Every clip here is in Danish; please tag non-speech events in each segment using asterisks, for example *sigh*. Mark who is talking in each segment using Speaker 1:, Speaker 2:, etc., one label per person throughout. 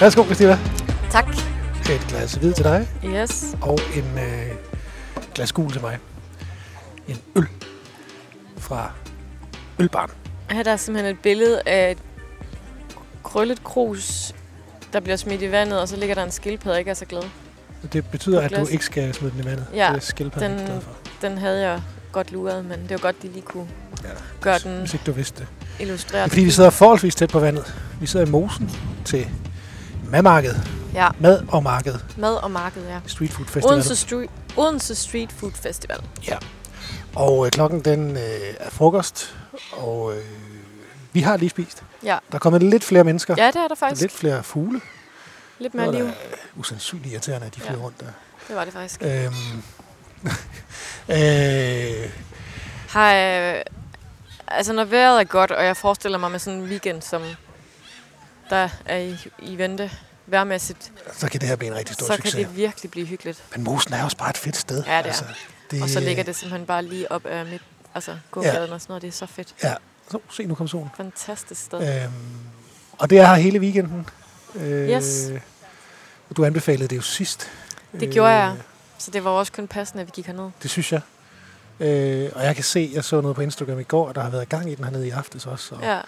Speaker 1: Værsgo, Christina.
Speaker 2: Tak.
Speaker 1: Et glas hvid til dig,
Speaker 2: Yes.
Speaker 1: og en øh, glas gul til mig. En øl fra Ølbarn.
Speaker 2: Her er der simpelthen et billede af et krøllet krus, der bliver smidt i vandet, og så ligger der en skildpadde, jeg ikke er så glad.
Speaker 1: Det betyder,
Speaker 2: Et
Speaker 1: at du
Speaker 2: glas.
Speaker 1: ikke skal smide den i vandet.
Speaker 2: Ja,
Speaker 1: det er skildpadden
Speaker 2: den-
Speaker 1: glad for.
Speaker 2: Den havde jeg godt luret, men det var godt, de lige kunne
Speaker 1: Ja.
Speaker 2: gøre
Speaker 1: Hvis-
Speaker 2: den
Speaker 1: Hvis ikke du vidste det. Det
Speaker 2: illustreret.
Speaker 1: er fordi, vi sidder forholdsvis tæt på vandet. Vi sidder i mosen til madmarkedet.
Speaker 2: Ja.
Speaker 1: Mad og marked.
Speaker 2: Mad og marked, ja.
Speaker 1: Street Food Festival.
Speaker 2: Odense, Street, Odense Street Food Festival.
Speaker 1: Og øh, klokken den øh, er frokost, og øh, vi har lige spist.
Speaker 2: Ja.
Speaker 1: Der er kommet lidt flere mennesker.
Speaker 2: Ja, det er der faktisk.
Speaker 1: Lidt
Speaker 2: Lidt,
Speaker 1: flere fugle.
Speaker 2: Lidt
Speaker 1: Det var
Speaker 2: mere
Speaker 1: da
Speaker 2: liv.
Speaker 1: usandsynligt irriterende, at de
Speaker 2: Ja.
Speaker 1: flyver ja. rundt der.
Speaker 2: Det var det faktisk.
Speaker 1: Øhm. *laughs* øh,
Speaker 2: Har, øh, altså når vejret er godt, og jeg forestiller mig med sådan en weekend, som der er i, i vente vejrmæssigt,
Speaker 1: så kan det her blive en rigtig stor
Speaker 2: så kan
Speaker 1: succes.
Speaker 2: det virkelig blive hyggeligt.
Speaker 1: Men mosen er også bare et fedt sted. altså.
Speaker 2: Ja, det er.
Speaker 1: det,
Speaker 2: Og så ligger det simpelthen bare lige op af midt, altså gågaden ja. og sådan noget. Det er så fedt.
Speaker 1: øh, Så, se, nu kom solen.
Speaker 2: Fantastisk sted.
Speaker 1: Øhm, og det er her hele weekenden. Øh,
Speaker 2: Yes.
Speaker 1: og Du anbefalede det jo sidst. Øh,
Speaker 2: Det gjorde jeg. Så det var jo også kun passende, at vi gik herned.
Speaker 1: Det synes jeg. Øh, og jeg kan se, jeg så noget på Instagram i går, og der har været gang i den hernede i aftes også. Og
Speaker 2: Ja,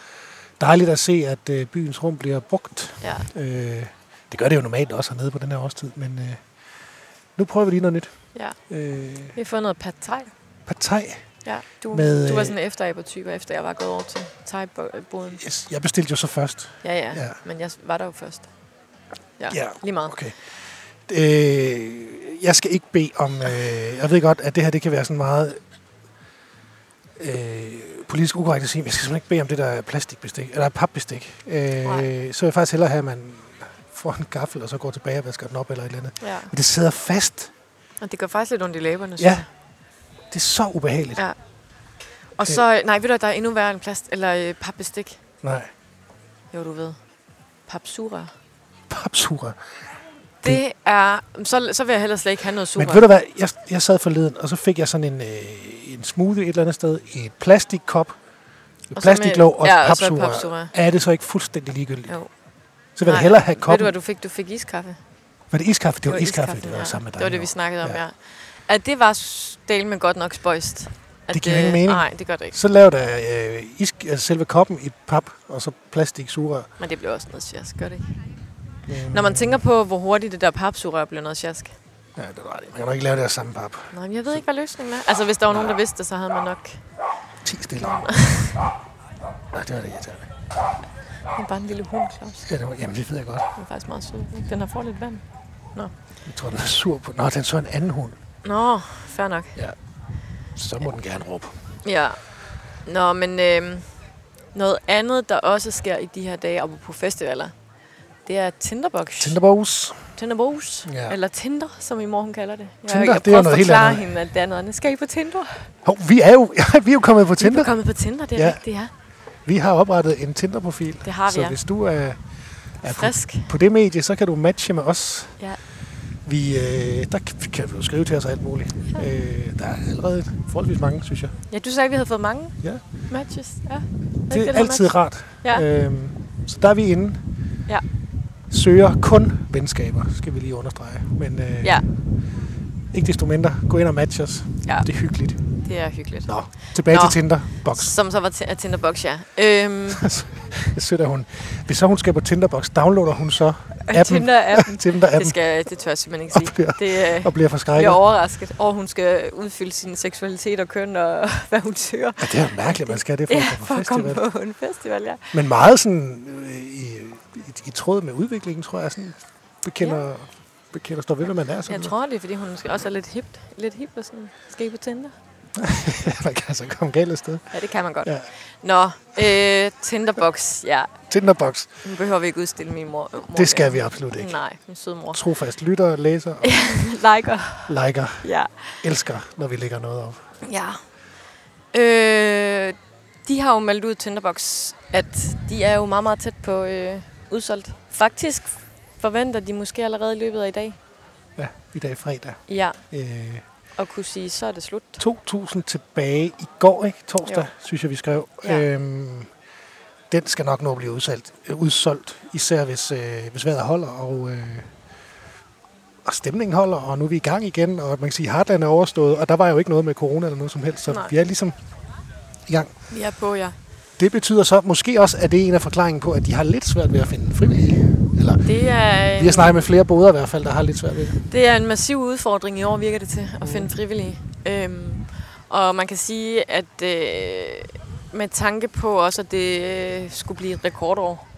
Speaker 1: Dejligt at se, at øh, byens rum bliver brugt.
Speaker 2: ja.
Speaker 1: Øh, det gør det jo normalt også hernede på den her årstid, men øh, nu prøver vi lige noget nyt.
Speaker 2: Ja.
Speaker 1: Øh,
Speaker 2: Vi har fået noget pad thai.
Speaker 1: Partej.
Speaker 2: Ja, du,
Speaker 1: Med,
Speaker 2: du var
Speaker 1: øh,
Speaker 2: sådan en efterabertype, efter jeg var gået over til thai-boden.
Speaker 1: Yes, jeg bestilte jo så først.
Speaker 2: Ja, ja,
Speaker 1: Ja.
Speaker 2: ja. Men jeg var der jo først. Ja,
Speaker 1: Ja.
Speaker 2: lige meget.
Speaker 1: Okay. Øh, jeg skal ikke bede om... Øh, jeg ved godt, at det her det kan være sådan meget øh, politisk ukorrekt at sige, men jeg skal simpelthen ikke bede om det der plastikbestik, eller papbestik. Øh,
Speaker 2: Nej.
Speaker 1: så vil jeg faktisk hellere have, at man får en gaffel, og så går tilbage og vasker den op eller et eller andet.
Speaker 2: Ja.
Speaker 1: Men det sidder fast.
Speaker 2: Og det gør faktisk lidt ondt i læberne, synes
Speaker 1: Ja.
Speaker 2: jeg.
Speaker 1: Det er så ubehageligt.
Speaker 2: Ja. Og
Speaker 1: Øh.
Speaker 2: så, nej, ved du, hvad, der er endnu værre end plast, eller øh, papbestik.
Speaker 1: Nej,
Speaker 2: Jo, du ved. Papsura.
Speaker 1: papsuger.
Speaker 2: Det er, så, så vil jeg hellere slet ikke have noget
Speaker 1: Men
Speaker 2: sura.
Speaker 1: ved du hvad, jeg, jeg sad forleden, og så fik jeg sådan en, øh, en smoothie et eller andet sted i et plastikkop, et
Speaker 2: med-
Speaker 1: plastiklåg og,
Speaker 2: ja,
Speaker 1: ja,
Speaker 2: og så et
Speaker 1: papsuger.
Speaker 2: papsugerør.
Speaker 1: Er det så ikke fuldstændig ligegyldigt?
Speaker 2: Jo.
Speaker 1: Så vil jeg
Speaker 2: Nej.
Speaker 1: hellere have
Speaker 2: Ved du,
Speaker 1: koppen.
Speaker 2: hvad du fik? Du fik iskaffe.
Speaker 1: Var det iskaffe? Det var iskaffe, det var
Speaker 2: ja.
Speaker 1: sammen med dig.
Speaker 2: Det var det, vi
Speaker 1: jo.
Speaker 2: snakkede om,
Speaker 1: Ja.
Speaker 2: ja. At det var del med godt nok spøjst. At
Speaker 1: Det giver ingen mening.
Speaker 2: Nej, det gør det ikke.
Speaker 1: Så lav der øh, isk, altså selve koppen i pap, og så plastik sugerør.
Speaker 2: Men det blev også noget sjask, gør det ikke?
Speaker 1: Mm.
Speaker 2: Når man tænker på, hvor hurtigt det der papsugerør blev noget sjask.
Speaker 1: Ja, det var det. Man kan nok ikke lave det af samme pap.
Speaker 2: Nej, men jeg ved ikke, hvad løsningen er. Altså, hvis der var nogen, der vidste det, så havde man nok
Speaker 1: Ti stille. *laughs* Nej, det var det, jeg tager.
Speaker 2: Det er bare en lille hund, Claus.
Speaker 1: Ja, det var, jamen, det ved jeg godt.
Speaker 2: Den er faktisk meget sød. ikke? Den har fået lidt vand.
Speaker 1: Jeg tror, den er sur på. Nå, den så en anden hund.
Speaker 2: Nå, fair nok.
Speaker 1: Så må den gerne råbe.
Speaker 2: Ja. Nå, men øhm, noget andet, der også sker i de her dage, og på festivaler, det er Tinderbox.
Speaker 1: Tinderbox.
Speaker 2: Tinderbox.
Speaker 1: Ja.
Speaker 2: Ja. Eller Tinder, som i morgen kalder det. Jeg,
Speaker 1: Tinder,
Speaker 2: jeg
Speaker 1: det er jo
Speaker 2: prøver
Speaker 1: noget
Speaker 2: at
Speaker 1: helt
Speaker 2: forklare
Speaker 1: andet.
Speaker 2: hende, at det er noget andet. Skal I på Tinder?
Speaker 1: Hov, vi er jo, *laughs* ja, vi er jo kommet på
Speaker 2: Vi
Speaker 1: Tinder.
Speaker 2: er kommet på Tinder, det er
Speaker 1: Ja.
Speaker 2: ja. rigtigt, ja.
Speaker 1: Vi har oprettet en Tinder-profil.
Speaker 2: Det har vi,
Speaker 1: Så
Speaker 2: ja.
Speaker 1: hvis du er, er på,
Speaker 2: Frisk.
Speaker 1: på det medie, så kan du matche med os.
Speaker 2: Ja.
Speaker 1: Vi, øh, der kan- kan du skrive til os og alt muligt. Ja. Øh, der er allerede forholdsvis mange, synes jeg.
Speaker 2: Ja, du sagde, at vi havde fået mange
Speaker 1: Ja.
Speaker 2: matches. Ja. Er ikke
Speaker 1: Det er
Speaker 2: der
Speaker 1: altid
Speaker 2: match?
Speaker 1: rart.
Speaker 2: Ja.
Speaker 1: Øhm, så der er vi inde.
Speaker 2: Ja.
Speaker 1: Søger kun venskaber, skal vi lige understrege. Men øh,
Speaker 2: Ja,
Speaker 1: ikke desto mindre, gå ind og match os.
Speaker 2: Ja.
Speaker 1: Det er hyggeligt.
Speaker 2: det er hyggeligt.
Speaker 1: Nå, tilbage Nå.
Speaker 2: Nå.
Speaker 1: til Tinderbox.
Speaker 2: Som så var t- Tinderbox, ja. Øhm,
Speaker 1: Jeg sætter hun. Hvis så hun skal på Tinderbox, downloader hun så appen.
Speaker 2: Tinder-appen.
Speaker 1: Tinder-appen
Speaker 2: Mm. Det, skal, det tør jeg simpelthen ikke sige.
Speaker 1: bliver-
Speaker 2: Det, øh,
Speaker 1: og bliver
Speaker 2: jeg er
Speaker 1: forskrækket.
Speaker 2: overrasket over, at hun skal udfylde sin seksualitet og køn og *laughs* hvad hun søger.
Speaker 1: Ja, det er jo mærkeligt, man skal have det for
Speaker 2: Ja,
Speaker 1: at komme på
Speaker 2: for at komme
Speaker 1: festival.
Speaker 2: på en festival, ja.
Speaker 1: Men meget sådan øh, i, i, i tråd med udviklingen, tror jeg, sådan bekender, ja. bekender står ved, hvad man er. Sådan
Speaker 2: Jeg tror, det er, fordi hun måske også er lidt hip, lidt hip og sådan. Skal I på Tinder?
Speaker 1: noget. *laughs* man kan altså komme galt af sted.
Speaker 2: Ja, det kan man godt.
Speaker 1: Ja.
Speaker 2: Ja. Nå, øh, Tinderbox, ja.
Speaker 1: Tinderbox,
Speaker 2: Nu behøver vi ikke udstille min mor. mor
Speaker 1: det skal vi absolut ikke.
Speaker 2: Nej, min søde mor.
Speaker 1: Trofast lytter, læser og
Speaker 2: Liker.
Speaker 1: liker,
Speaker 2: Ja.
Speaker 1: elsker, når vi lægger noget op.
Speaker 2: Ja. Øh, de har jo meldt ud Tinderbox, at de er jo meget, meget tæt på øh, udsolgt. Faktisk forventer de måske allerede i løbet af i dag.
Speaker 1: Ja, i dag er fredag.
Speaker 2: Ja,
Speaker 1: Øh,
Speaker 2: og kunne sige, så er det slut.
Speaker 1: 2.000 tilbage i går, ikke? Torsdag, jo.
Speaker 2: Jo.
Speaker 1: synes jeg, vi skrev. Ja.
Speaker 2: Ja.
Speaker 1: Øhm, den skal nok nå at blive udsolgt, øh, udsolgt især hvis, øh, hvis vejret holder, og, øh, og stemningen holder, og nu er vi i gang igen, og man kan sige, Heartland er overstået, og der var jo ikke noget med corona eller noget som helst, så Nej.
Speaker 2: Nej.
Speaker 1: vi er ligesom i gang.
Speaker 2: Vi er på, ja.
Speaker 1: Det betyder så måske også, at det er en af forklaringen på, at de har lidt svært ved at finde frivillige. Eller,
Speaker 2: Det er,
Speaker 1: vi har
Speaker 2: en,
Speaker 1: snakket med flere boder i hvert fald, der har lidt svært ved det.
Speaker 2: det er en massiv udfordring i år, virker det til,
Speaker 1: Mm.
Speaker 2: at finde frivillige. Øhm, og man kan sige, at øh, med tanke på også, at det øh, skulle blive et rekordår,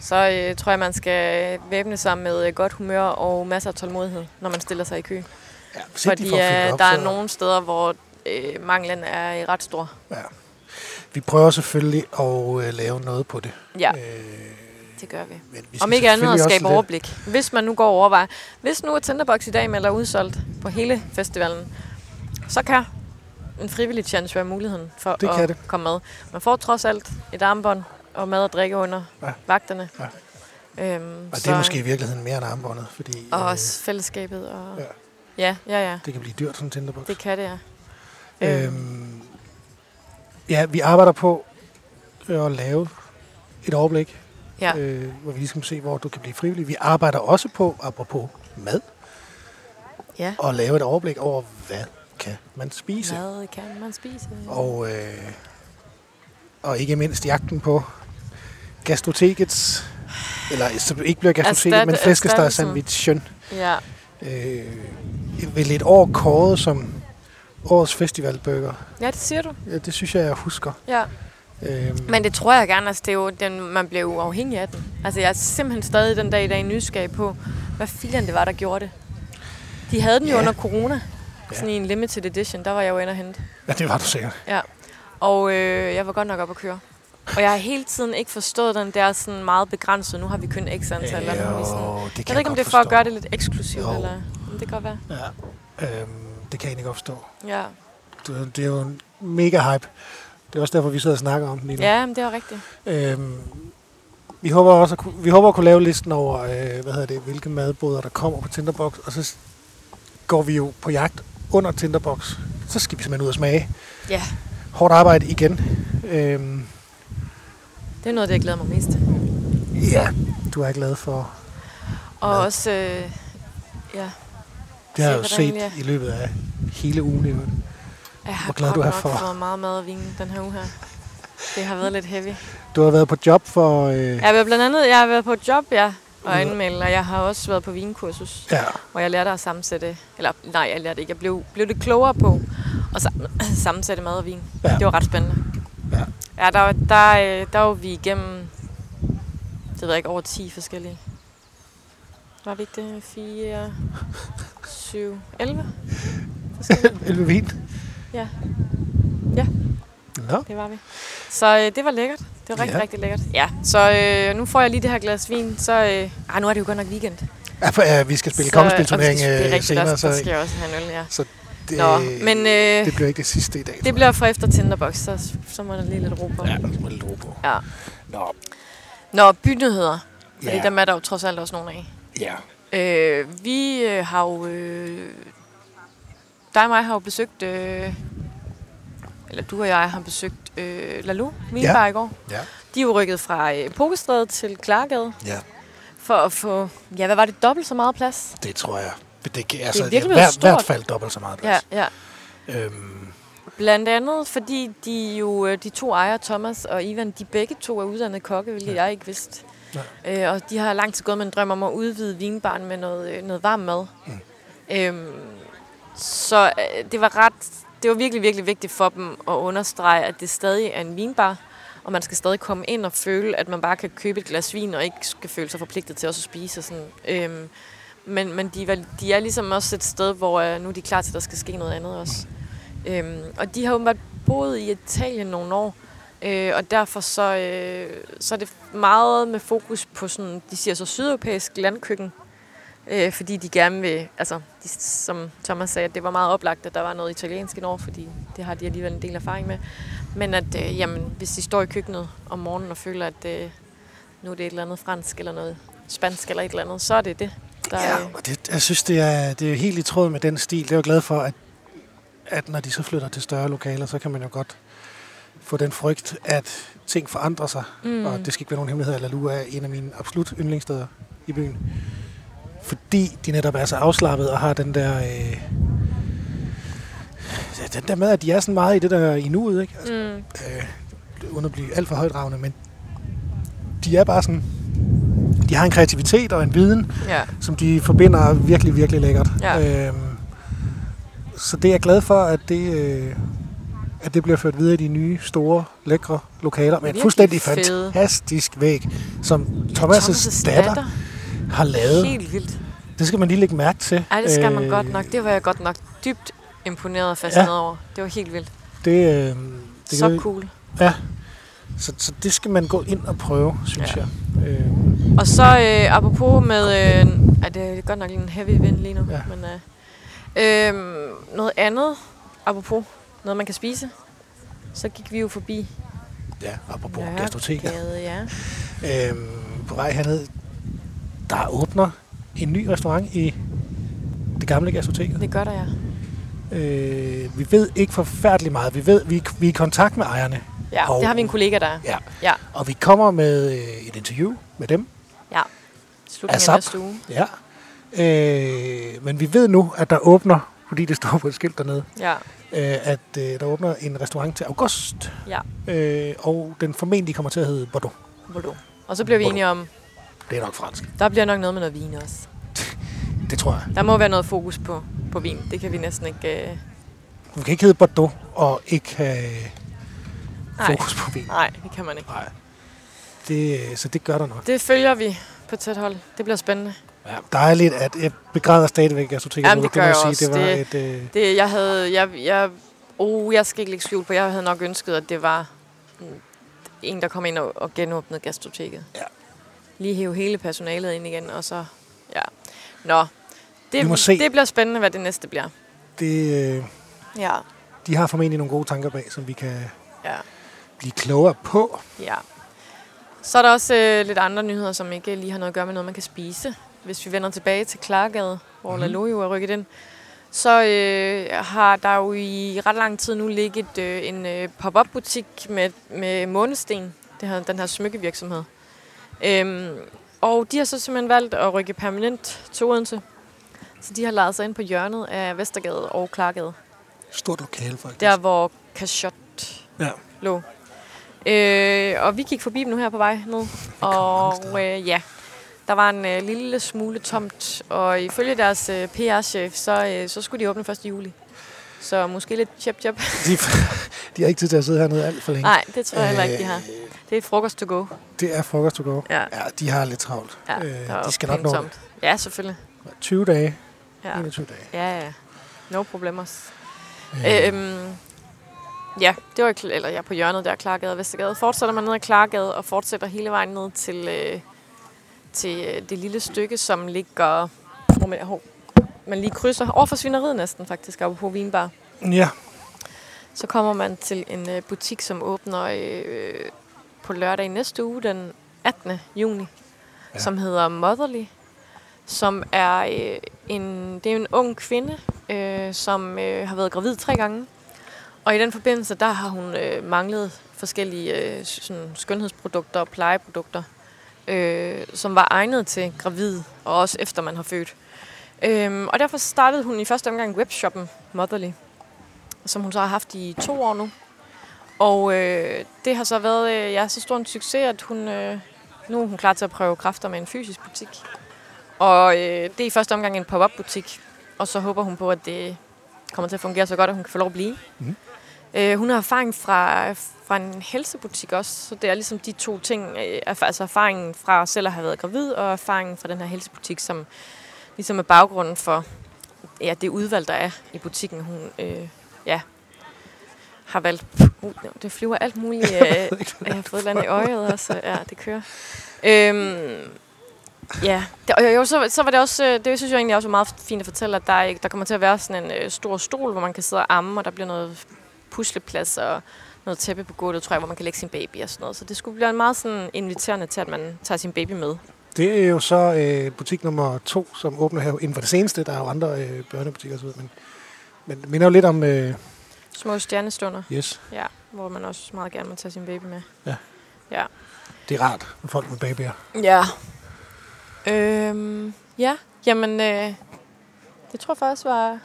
Speaker 2: så øh, tror jeg, man skal væbne sig med øh, godt humør og masser af tålmodighed, når man stiller sig i kø.
Speaker 1: Ja, hvis ikke de
Speaker 2: Fordi
Speaker 1: får fyldt
Speaker 2: øh,
Speaker 1: op,
Speaker 2: der er
Speaker 1: så-
Speaker 2: nogle steder, hvor øh, manglen er ret stor.
Speaker 1: Ja. Vi prøver selvfølgelig at øh, lave noget på det.
Speaker 2: Ja,
Speaker 1: Øh,
Speaker 2: det gør vi.
Speaker 1: men vi skal
Speaker 2: Om ikke andet
Speaker 1: selvfølgelig
Speaker 2: at
Speaker 1: også
Speaker 2: skabe
Speaker 1: lidt-
Speaker 2: overblik. Hvis man nu går og overvejer. Hvis nu at Tinderbox i dag melder udsolgt på hele festivalen, så kan en frivillig chance være muligheden for
Speaker 1: Det kan
Speaker 2: at
Speaker 1: det.
Speaker 2: komme med. Man får trods alt et armbånd og mad og drikke under
Speaker 1: Ja.
Speaker 2: ja. vagterne.
Speaker 1: Ja.
Speaker 2: Øhm,
Speaker 1: Og det er måske i virkeligheden mere end armbåndet, fordi
Speaker 2: Og også fællesskabet. Og...
Speaker 1: Ja.
Speaker 2: Ja. ja, ja, ja.
Speaker 1: det kan blive dyrt som Tinderbox.
Speaker 2: Det kan det, ja. Øhm,
Speaker 1: Øhm, ja, vi arbejder på øh, at lave et overblik,
Speaker 2: ja.
Speaker 1: øh, hvor vi ligesom se, hvor du kan blive frivillig. Vi arbejder også på, apropos mad,
Speaker 2: ja.
Speaker 1: at lave et overblik over, hvad kan man spise?
Speaker 2: Hvad kan man spise?
Speaker 1: Og, øh, og ikke mindst jagten på gastrotekets, eller som ikke bliver gastroteket,
Speaker 2: Erstat-
Speaker 1: men flæskesteg
Speaker 2: erstattelsen.
Speaker 1: sandwichen.
Speaker 2: Ja,
Speaker 1: Øh, vel et år kåret som årets festivalburger.
Speaker 2: ja det siger du.
Speaker 1: Ja, det synes jeg, jeg husker.
Speaker 2: Ja.
Speaker 1: Øh,
Speaker 2: Men det tror jeg gerne, altså det er jo, den, man bliver jo afhængig af den. Altså jeg er simpelthen stadig den dag i dag nysgerrig på, hvad filen det var, der gjorde det. De havde den jo
Speaker 1: Ja.
Speaker 2: under corona,
Speaker 1: Ja.
Speaker 2: sådan i en limited edition, der var jeg jo inde og hente.
Speaker 1: ja, det var du sikkert.
Speaker 2: Ja. Og øh, jeg var godt nok op at køre. Og jeg har hele tiden ikke forstået den der sådan meget begrænset, nu har vi kun x antal. eller nu har vi sådan.
Speaker 1: det
Speaker 2: Jeg ved ikke, om det er for at gøre det lidt eksklusivt,
Speaker 1: Jo.
Speaker 2: jo. eller men det kan godt være.
Speaker 1: Ja, øhm, det kan jeg ikke opstå.
Speaker 2: Ja,
Speaker 1: Det, det er jo en mega hype. Det er også derfor, vi sidder og snakker om den lige nu.
Speaker 2: ja men det er jo rigtigt.
Speaker 1: Øhm, vi håber også at kunne, vi håber at kunne lave listen over, øh, hvad hedder det, hvilke madboder, der kommer på Tinderbox, og så s- går vi jo på jagt under Tinderbox. Så skal vi simpelthen ud og smage.
Speaker 2: Ja,
Speaker 1: Hårdt arbejde igen. Øhm,
Speaker 2: det er noget, af det jeg glæder mig mest til.
Speaker 1: ja, du er glad for.
Speaker 2: Og også, øh, ja,
Speaker 1: Det har jeg jo
Speaker 2: Se,
Speaker 1: set
Speaker 2: hvordan jeg-
Speaker 1: i løbet af hele ugen. i øvrigt.
Speaker 2: Jeg har
Speaker 1: Hvor glad
Speaker 2: godt
Speaker 1: du er
Speaker 2: nok
Speaker 1: for-
Speaker 2: fået meget mad og vin den her uge her. Det har været lidt heavy.
Speaker 1: Du har været på job for... Øh,
Speaker 2: Jeg har blandt andet jeg har været på et job, ja, og
Speaker 1: Ja.
Speaker 2: anmelde, og jeg har også været på vinkursus,
Speaker 1: ja.
Speaker 2: hvor jeg lærte at sammensætte, eller nej, jeg lærte ikke, jeg blev, blev det klogere på at sam- *clears throat* sammensætte mad og vin.
Speaker 1: Ja.
Speaker 2: Det var ret spændende.
Speaker 1: Ja.
Speaker 2: Ja, der, var- der, øh, der var vi igennem, det ved jeg ikke, over 10 forskellige. Var vi ikke det? 4, 7,
Speaker 1: *laughs*
Speaker 2: 11?
Speaker 1: Elve vin.
Speaker 2: Ja.
Speaker 1: Nå,
Speaker 2: Det var vi. Så øh, det var lækkert. Det var rigtig,
Speaker 1: Ja.
Speaker 2: ja. rigtig lækkert. Ja, så øh, nu får jeg lige det her glas vin, så... Øh, ah, nu er det jo godt nok weekend.
Speaker 1: ja, for, ja, vi skal spille
Speaker 2: Så, øh,
Speaker 1: kongespilturnering
Speaker 2: og vi skal- Det er
Speaker 1: øh,
Speaker 2: rigtigt,
Speaker 1: senere,
Speaker 2: der,
Speaker 1: så
Speaker 2: så... der skal jeg også have en øl, ja.
Speaker 1: så det,
Speaker 2: Nå, men øh,
Speaker 1: det bliver ikke det sidste i dag. tror
Speaker 2: det
Speaker 1: jeg.
Speaker 2: bliver for efter Tinderbox, så, så må der lige lidt ro på.
Speaker 1: Ja, der må lidt ro på.
Speaker 2: ja.
Speaker 1: Nå,
Speaker 2: Nå, bynyheder. Fordi
Speaker 1: Ja.
Speaker 2: dem er der jo trods alt også nogle af.
Speaker 1: ja.
Speaker 2: Øh, vi øh, har jo... Øh, dig og mig har jo besøgt... Øh, eller du og jeg har besøgt øh, Lalu, min
Speaker 1: Ja.
Speaker 2: ja. i går.
Speaker 1: Ja.
Speaker 2: De er jo rykket fra øh, Pokestræde til Klargade.
Speaker 1: Ja,
Speaker 2: For at få, ja, hvad var det, dobbelt så meget plads?
Speaker 1: det tror jeg. Det, kan, altså, det er
Speaker 2: virkelig
Speaker 1: i
Speaker 2: blevet
Speaker 1: hvert,
Speaker 2: stort.
Speaker 1: hvert fald dobbelt så meget
Speaker 2: Ja,
Speaker 1: plads.
Speaker 2: ja.
Speaker 1: Ja. Øhm,
Speaker 2: Blandt andet, fordi de jo, øh, de to ejere, Thomas og Ivan, de begge to er uddannede kokke, hvilket ja. jeg ikke vidste. Øh, og de har lang tid gået med en drøm om at udvide vinbaren med noget, øh, noget varm mad.
Speaker 1: Mm.
Speaker 2: Mm. Øhm, så øh, det var ret, det var virkelig, virkelig vigtigt for dem at understrege, at det stadig er en vinbar, og man skal stadig komme ind og føle, at man bare kan købe et glas vin, og ikke skal føle sig forpligtet til også at spise. Og sådan. Øhm, men men de, var, de er ligesom også et sted, hvor øh, nu er de klar til, at der skal ske noget andet også. Øhm, og de har åbenbart boet i Italien nogle år, øh, og derfor så, øh, så er det meget med fokus på sådan, de siger så sydeuropæisk landkøkken, øh, fordi de gerne vil, altså de, som Thomas sagde, at det var meget oplagt, at der var noget italiensk indover, fordi det har de alligevel en del erfaring med. Men at øh, jamen, hvis de står i køkkenet om morgenen og føler, at øh, nu er det et eller andet fransk eller noget spansk eller et eller andet, så er det det. Der,
Speaker 1: ja,
Speaker 2: øh,
Speaker 1: og det, jeg synes, det er, det er helt i tråd med den stil. Det er jeg jo glad for, at, at når de så flytter til større lokaler, så kan man jo godt få den frygt, at ting forandrer sig.
Speaker 2: Mm.
Speaker 1: Mm. Og det skal ikke være nogen hemmelighed, at La Lua er en af mine absolut yndlingssteder i byen. Fordi de netop er så afslappet og har den der... Øh, den der med, at de er sådan meget i det der i nuet, ikke? Altså,
Speaker 2: Mm.
Speaker 1: øh, uden at blive alt for højdragende, men de er bare sådan... De har en kreativitet og en viden,
Speaker 2: Ja.
Speaker 1: som de forbinder virkelig, virkelig lækkert.
Speaker 2: Ja.
Speaker 1: Øhm, så det er jeg glad for, at det, øh, at det bliver ført videre i de nye, store, lækre lokaler. Men
Speaker 2: Virkelig
Speaker 1: fuldstændig
Speaker 2: fede.
Speaker 1: fantastisk væg, som Thomas' datter, har lavet.
Speaker 2: Helt vildt.
Speaker 1: Det skal man lige lægge mærke til.
Speaker 2: Ej, det skal øh, man
Speaker 1: Øh,
Speaker 2: godt nok. Det var jeg godt nok dybt imponeret og fascineret ja. over. Det var helt vildt.
Speaker 1: Det, øh, det
Speaker 2: Det så
Speaker 1: kan-
Speaker 2: cool.
Speaker 1: så, så det skal man gå ind og prøve, synes
Speaker 2: Ja.
Speaker 1: ja. jeg. Øh,
Speaker 2: Og så øh, apropos med... Øh, ej, det er godt nok en heavy vind lige nu. Ja.
Speaker 1: Ja.
Speaker 2: Men, øh, øh, noget andet, apropos noget, man kan spise. Så gik vi jo forbi
Speaker 1: ja, apropos ja, gastroteket.
Speaker 2: Nørregade, ja.
Speaker 1: Øhm, på vej herned, der åbner en ny restaurant i det gamle gastroteket.
Speaker 2: Det gør der, ja.
Speaker 1: Øh, vi ved ikke forfærdeligt meget. Vi ved, vi, er- vi er i kontakt med ejerne,
Speaker 2: Ja,
Speaker 1: Og-
Speaker 2: det har vi en kollega, der er.
Speaker 1: Ja.
Speaker 2: Ja,
Speaker 1: og vi kommer med øh, et interview med dem.
Speaker 2: ja. Slutningen
Speaker 1: Asap.
Speaker 2: af næste uge.
Speaker 1: Ja. Øh, men vi ved nu, at der åbner, fordi det står på et skilt dernede,
Speaker 2: Ja,
Speaker 1: øh, at øh, der åbner en restaurant til august,
Speaker 2: ja.
Speaker 1: øh, og den formentlig kommer til at hedde Bordeaux.
Speaker 2: Bordeaux. Og så bliver vi
Speaker 1: Bordeaux.
Speaker 2: enige om,
Speaker 1: Det er nok fransk.
Speaker 2: der bliver nok noget med noget vin også.
Speaker 1: Det tror jeg.
Speaker 2: Der må være noget fokus på, på vin. Det kan vi næsten ikke... Øh...
Speaker 1: Du kan ikke hedde Bordeaux og ikke have
Speaker 2: Nej.
Speaker 1: fokus på vin.
Speaker 2: Nej, det kan man ikke.
Speaker 1: Nej. Det, øh, så det gør der nok.
Speaker 2: Det følger vi på tæt hold. Det bliver spændende.
Speaker 1: Ja. Dejligt, at jeg begræder stadigvæk, at du tænker,
Speaker 2: Jamen, det gør jeg
Speaker 1: sige, det var
Speaker 2: også.
Speaker 1: et... Øh,
Speaker 2: Det, jeg havde... Jeg, jeg, oh, jeg skal ikke lægge skjul på. Jeg havde nok ønsket, at det var mm, en, der kom ind og, og genåbnede gastroteket.
Speaker 1: Ja.
Speaker 2: Lige hæve hele personalet ind igen, og så... Ja. Nå. Det,
Speaker 1: Vi må se.
Speaker 2: det bliver spændende, hvad det næste bliver.
Speaker 1: det øh,
Speaker 2: Ja.
Speaker 1: de har formentlig nogle gode tanker bag, som vi kan
Speaker 2: Ja.
Speaker 1: blive klogere på.
Speaker 2: Ja. Så er der også øh, lidt andre nyheder, som ikke lige har noget at gøre med noget, man kan spise. Hvis vi vender tilbage til Klargade, hvor mm. Lalo jo er rykket ind, så øh, har der jo i ret lang tid nu ligget øh, en øh, pop-up-butik med, med månesten, det her, den her smykkevirksomhed. Øhm, og de har så simpelthen valgt at rykke permanent til Odense. Så de har lejet sig ind på hjørnet af Vestergade og Klargade,
Speaker 1: Stort lokale, faktisk.
Speaker 2: der hvor Cachot
Speaker 1: Ja.
Speaker 2: lå. Øh, og vi gik forbi dem nu her på vej ned.
Speaker 1: mange
Speaker 2: Og
Speaker 1: steder.
Speaker 2: øh, ja, der var en øh, lille smule tomt. Og ifølge deres øh, PR-chef, så, øh, så skulle de åbne 1. juli. Så måske lidt chip chip.
Speaker 1: De, *laughs* de har ikke tid til at sidde hernede alt for længe.
Speaker 2: Nej, det tror jeg heller ikke, de har.
Speaker 1: Øh,
Speaker 2: Det er frokost to go.
Speaker 1: Det er frokost to go.
Speaker 2: Ja,
Speaker 1: Ja, de har lidt travlt.
Speaker 2: ja der
Speaker 1: øh,
Speaker 2: var
Speaker 1: de skal nok
Speaker 2: pænt
Speaker 1: nå det.
Speaker 2: tomt. Ja, selvfølgelig.
Speaker 1: 20 dage,
Speaker 2: Ja.
Speaker 1: 21 dage.
Speaker 2: Ja, ja. No problemers.
Speaker 1: Øh,
Speaker 2: Øhm, ja, det var kl- eller jeg er på hjørnet der, Klargade og Vestergade. Fortsætter man ned ad Klargade og fortsætter hele vejen ned til, øh, til øh, det lille stykke, som ligger... Hvor man, hov, man lige krydser over for svineriet næsten faktisk, oppe på Vinbar.
Speaker 1: ja,
Speaker 2: Så kommer man til en øh, butik, som åbner øh, på lørdag i næste uge, den 18. juni, ja.
Speaker 1: Ja.
Speaker 2: som hedder Motherly, som er øh, en, det er en ung kvinde, øh, som øh, har været gravid tre gange. Og i den forbindelse, der har hun øh, manglet forskellige øh, s- sådan, skønhedsprodukter og plejeprodukter, øh, som var egnet til gravid, og også efter man har født. Øhm, og derfor startede hun i første omgang webshoppen Motherly, som hun så har haft i to år nu. Og øh, det har så været øh, ja, så stor en succes, at hun, øh, nu er hun klar til at prøve kræfter med en fysisk butik. Og øh, det er i første omgang en pop-up butik, og så håber hun på, at det kommer til at fungere så godt, at hun kan få lov at blive. Mm.
Speaker 1: Mhm.
Speaker 2: Øh, hun har erfaring fra, fra en helsebutik også, så det er ligesom de to ting, øh, erf- altså erfaringen fra selv at have været gravid, og erfaringen fra den her helsebutik, som ligesom er baggrunden for ja, det udvalg, der er i butikken, hun øh, ja, har valgt. Uh, det flyver alt muligt. Øh, jeg har fået et eller andet i øjet også. Ja, det kører. Øhm, ja, det, og jo, så, så var det også, øh, det synes jeg egentlig også er meget fint at fortælle, at der, er ikke- der kommer til at være sådan en øh, stor stol, hvor man kan sidde og amme, og der bliver noget pusleplads og noget tæppe på gulvet, tror jeg, hvor man kan lægge sin baby og sådan noget. Så det skulle blive meget sådan inviterende til, at man tager sin baby med.
Speaker 1: det er jo så øh, butik nummer to, som åbner her inden for det seneste. Der er jo andre øh, børnebutikker osv., men, men det minder jo lidt om... Øh,
Speaker 2: Små stjernestunder.
Speaker 1: yes.
Speaker 2: Ja. hvor man også meget gerne må tage sin baby med.
Speaker 1: Det er rart med folk med babyer.
Speaker 2: Ja. Øhm, ja, jamen, øh, det tror jeg faktisk var,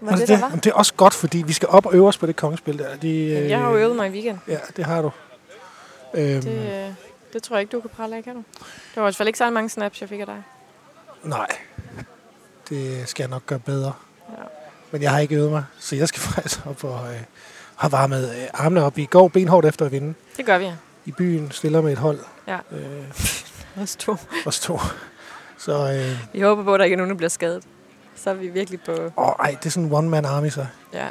Speaker 2: var Altså det, det, der var.
Speaker 1: Jamen, Altså, det er også godt, fordi vi skal op og øve os på det kongespil der. De, øh,
Speaker 2: Jamen, jeg har jo øvet mig i weekenden.
Speaker 1: Ja, det har du. Øhm,
Speaker 2: Det, øh, det tror jeg ikke, du kan prale af, kan du? Det var i hvert fald ikke så mange snaps, jeg fik af dig.
Speaker 1: Nej, det skal jeg nok gøre bedre.
Speaker 2: Ja.
Speaker 1: Men jeg har ikke øvet mig, så jeg skal *laughs* faktisk op og øh, har varmet øh, armene op i går benhårdt efter at vinde.
Speaker 2: Det gør vi, ja.
Speaker 1: I byen stiller med et hold,
Speaker 2: Ja. *laughs*
Speaker 1: øh,
Speaker 2: Os to.
Speaker 1: os to. Så, øh,
Speaker 2: Vi håber på, at der ikke er nogen, der bliver skadet. Så er vi virkelig på...
Speaker 1: åh, ej, det er sådan en one-man army, så
Speaker 2: Ja.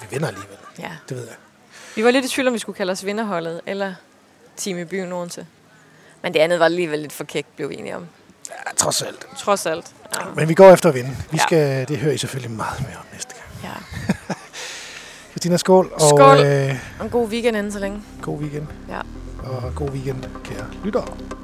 Speaker 1: vi vinder alligevel,
Speaker 2: ja.
Speaker 1: det ved jeg.
Speaker 2: Vi var lidt i tvivl, om vi skulle kalde os vinderholdet eller Team i byen Odense. Men det andet var alligevel lidt for kægt, blev vi enige om.
Speaker 1: Ja, trods alt.
Speaker 2: Trods alt. Ja.
Speaker 1: Men vi går efter at vinde. Vi
Speaker 2: Ja.
Speaker 1: skal, Det hører I selvfølgelig meget mere om næste gang.
Speaker 2: ja.
Speaker 1: Christina, skål.
Speaker 2: Skål.
Speaker 1: Og øh,
Speaker 2: Og En god weekend inden så længe.
Speaker 1: god weekend.
Speaker 2: Ja.
Speaker 1: Og god weekend, kære lyttere.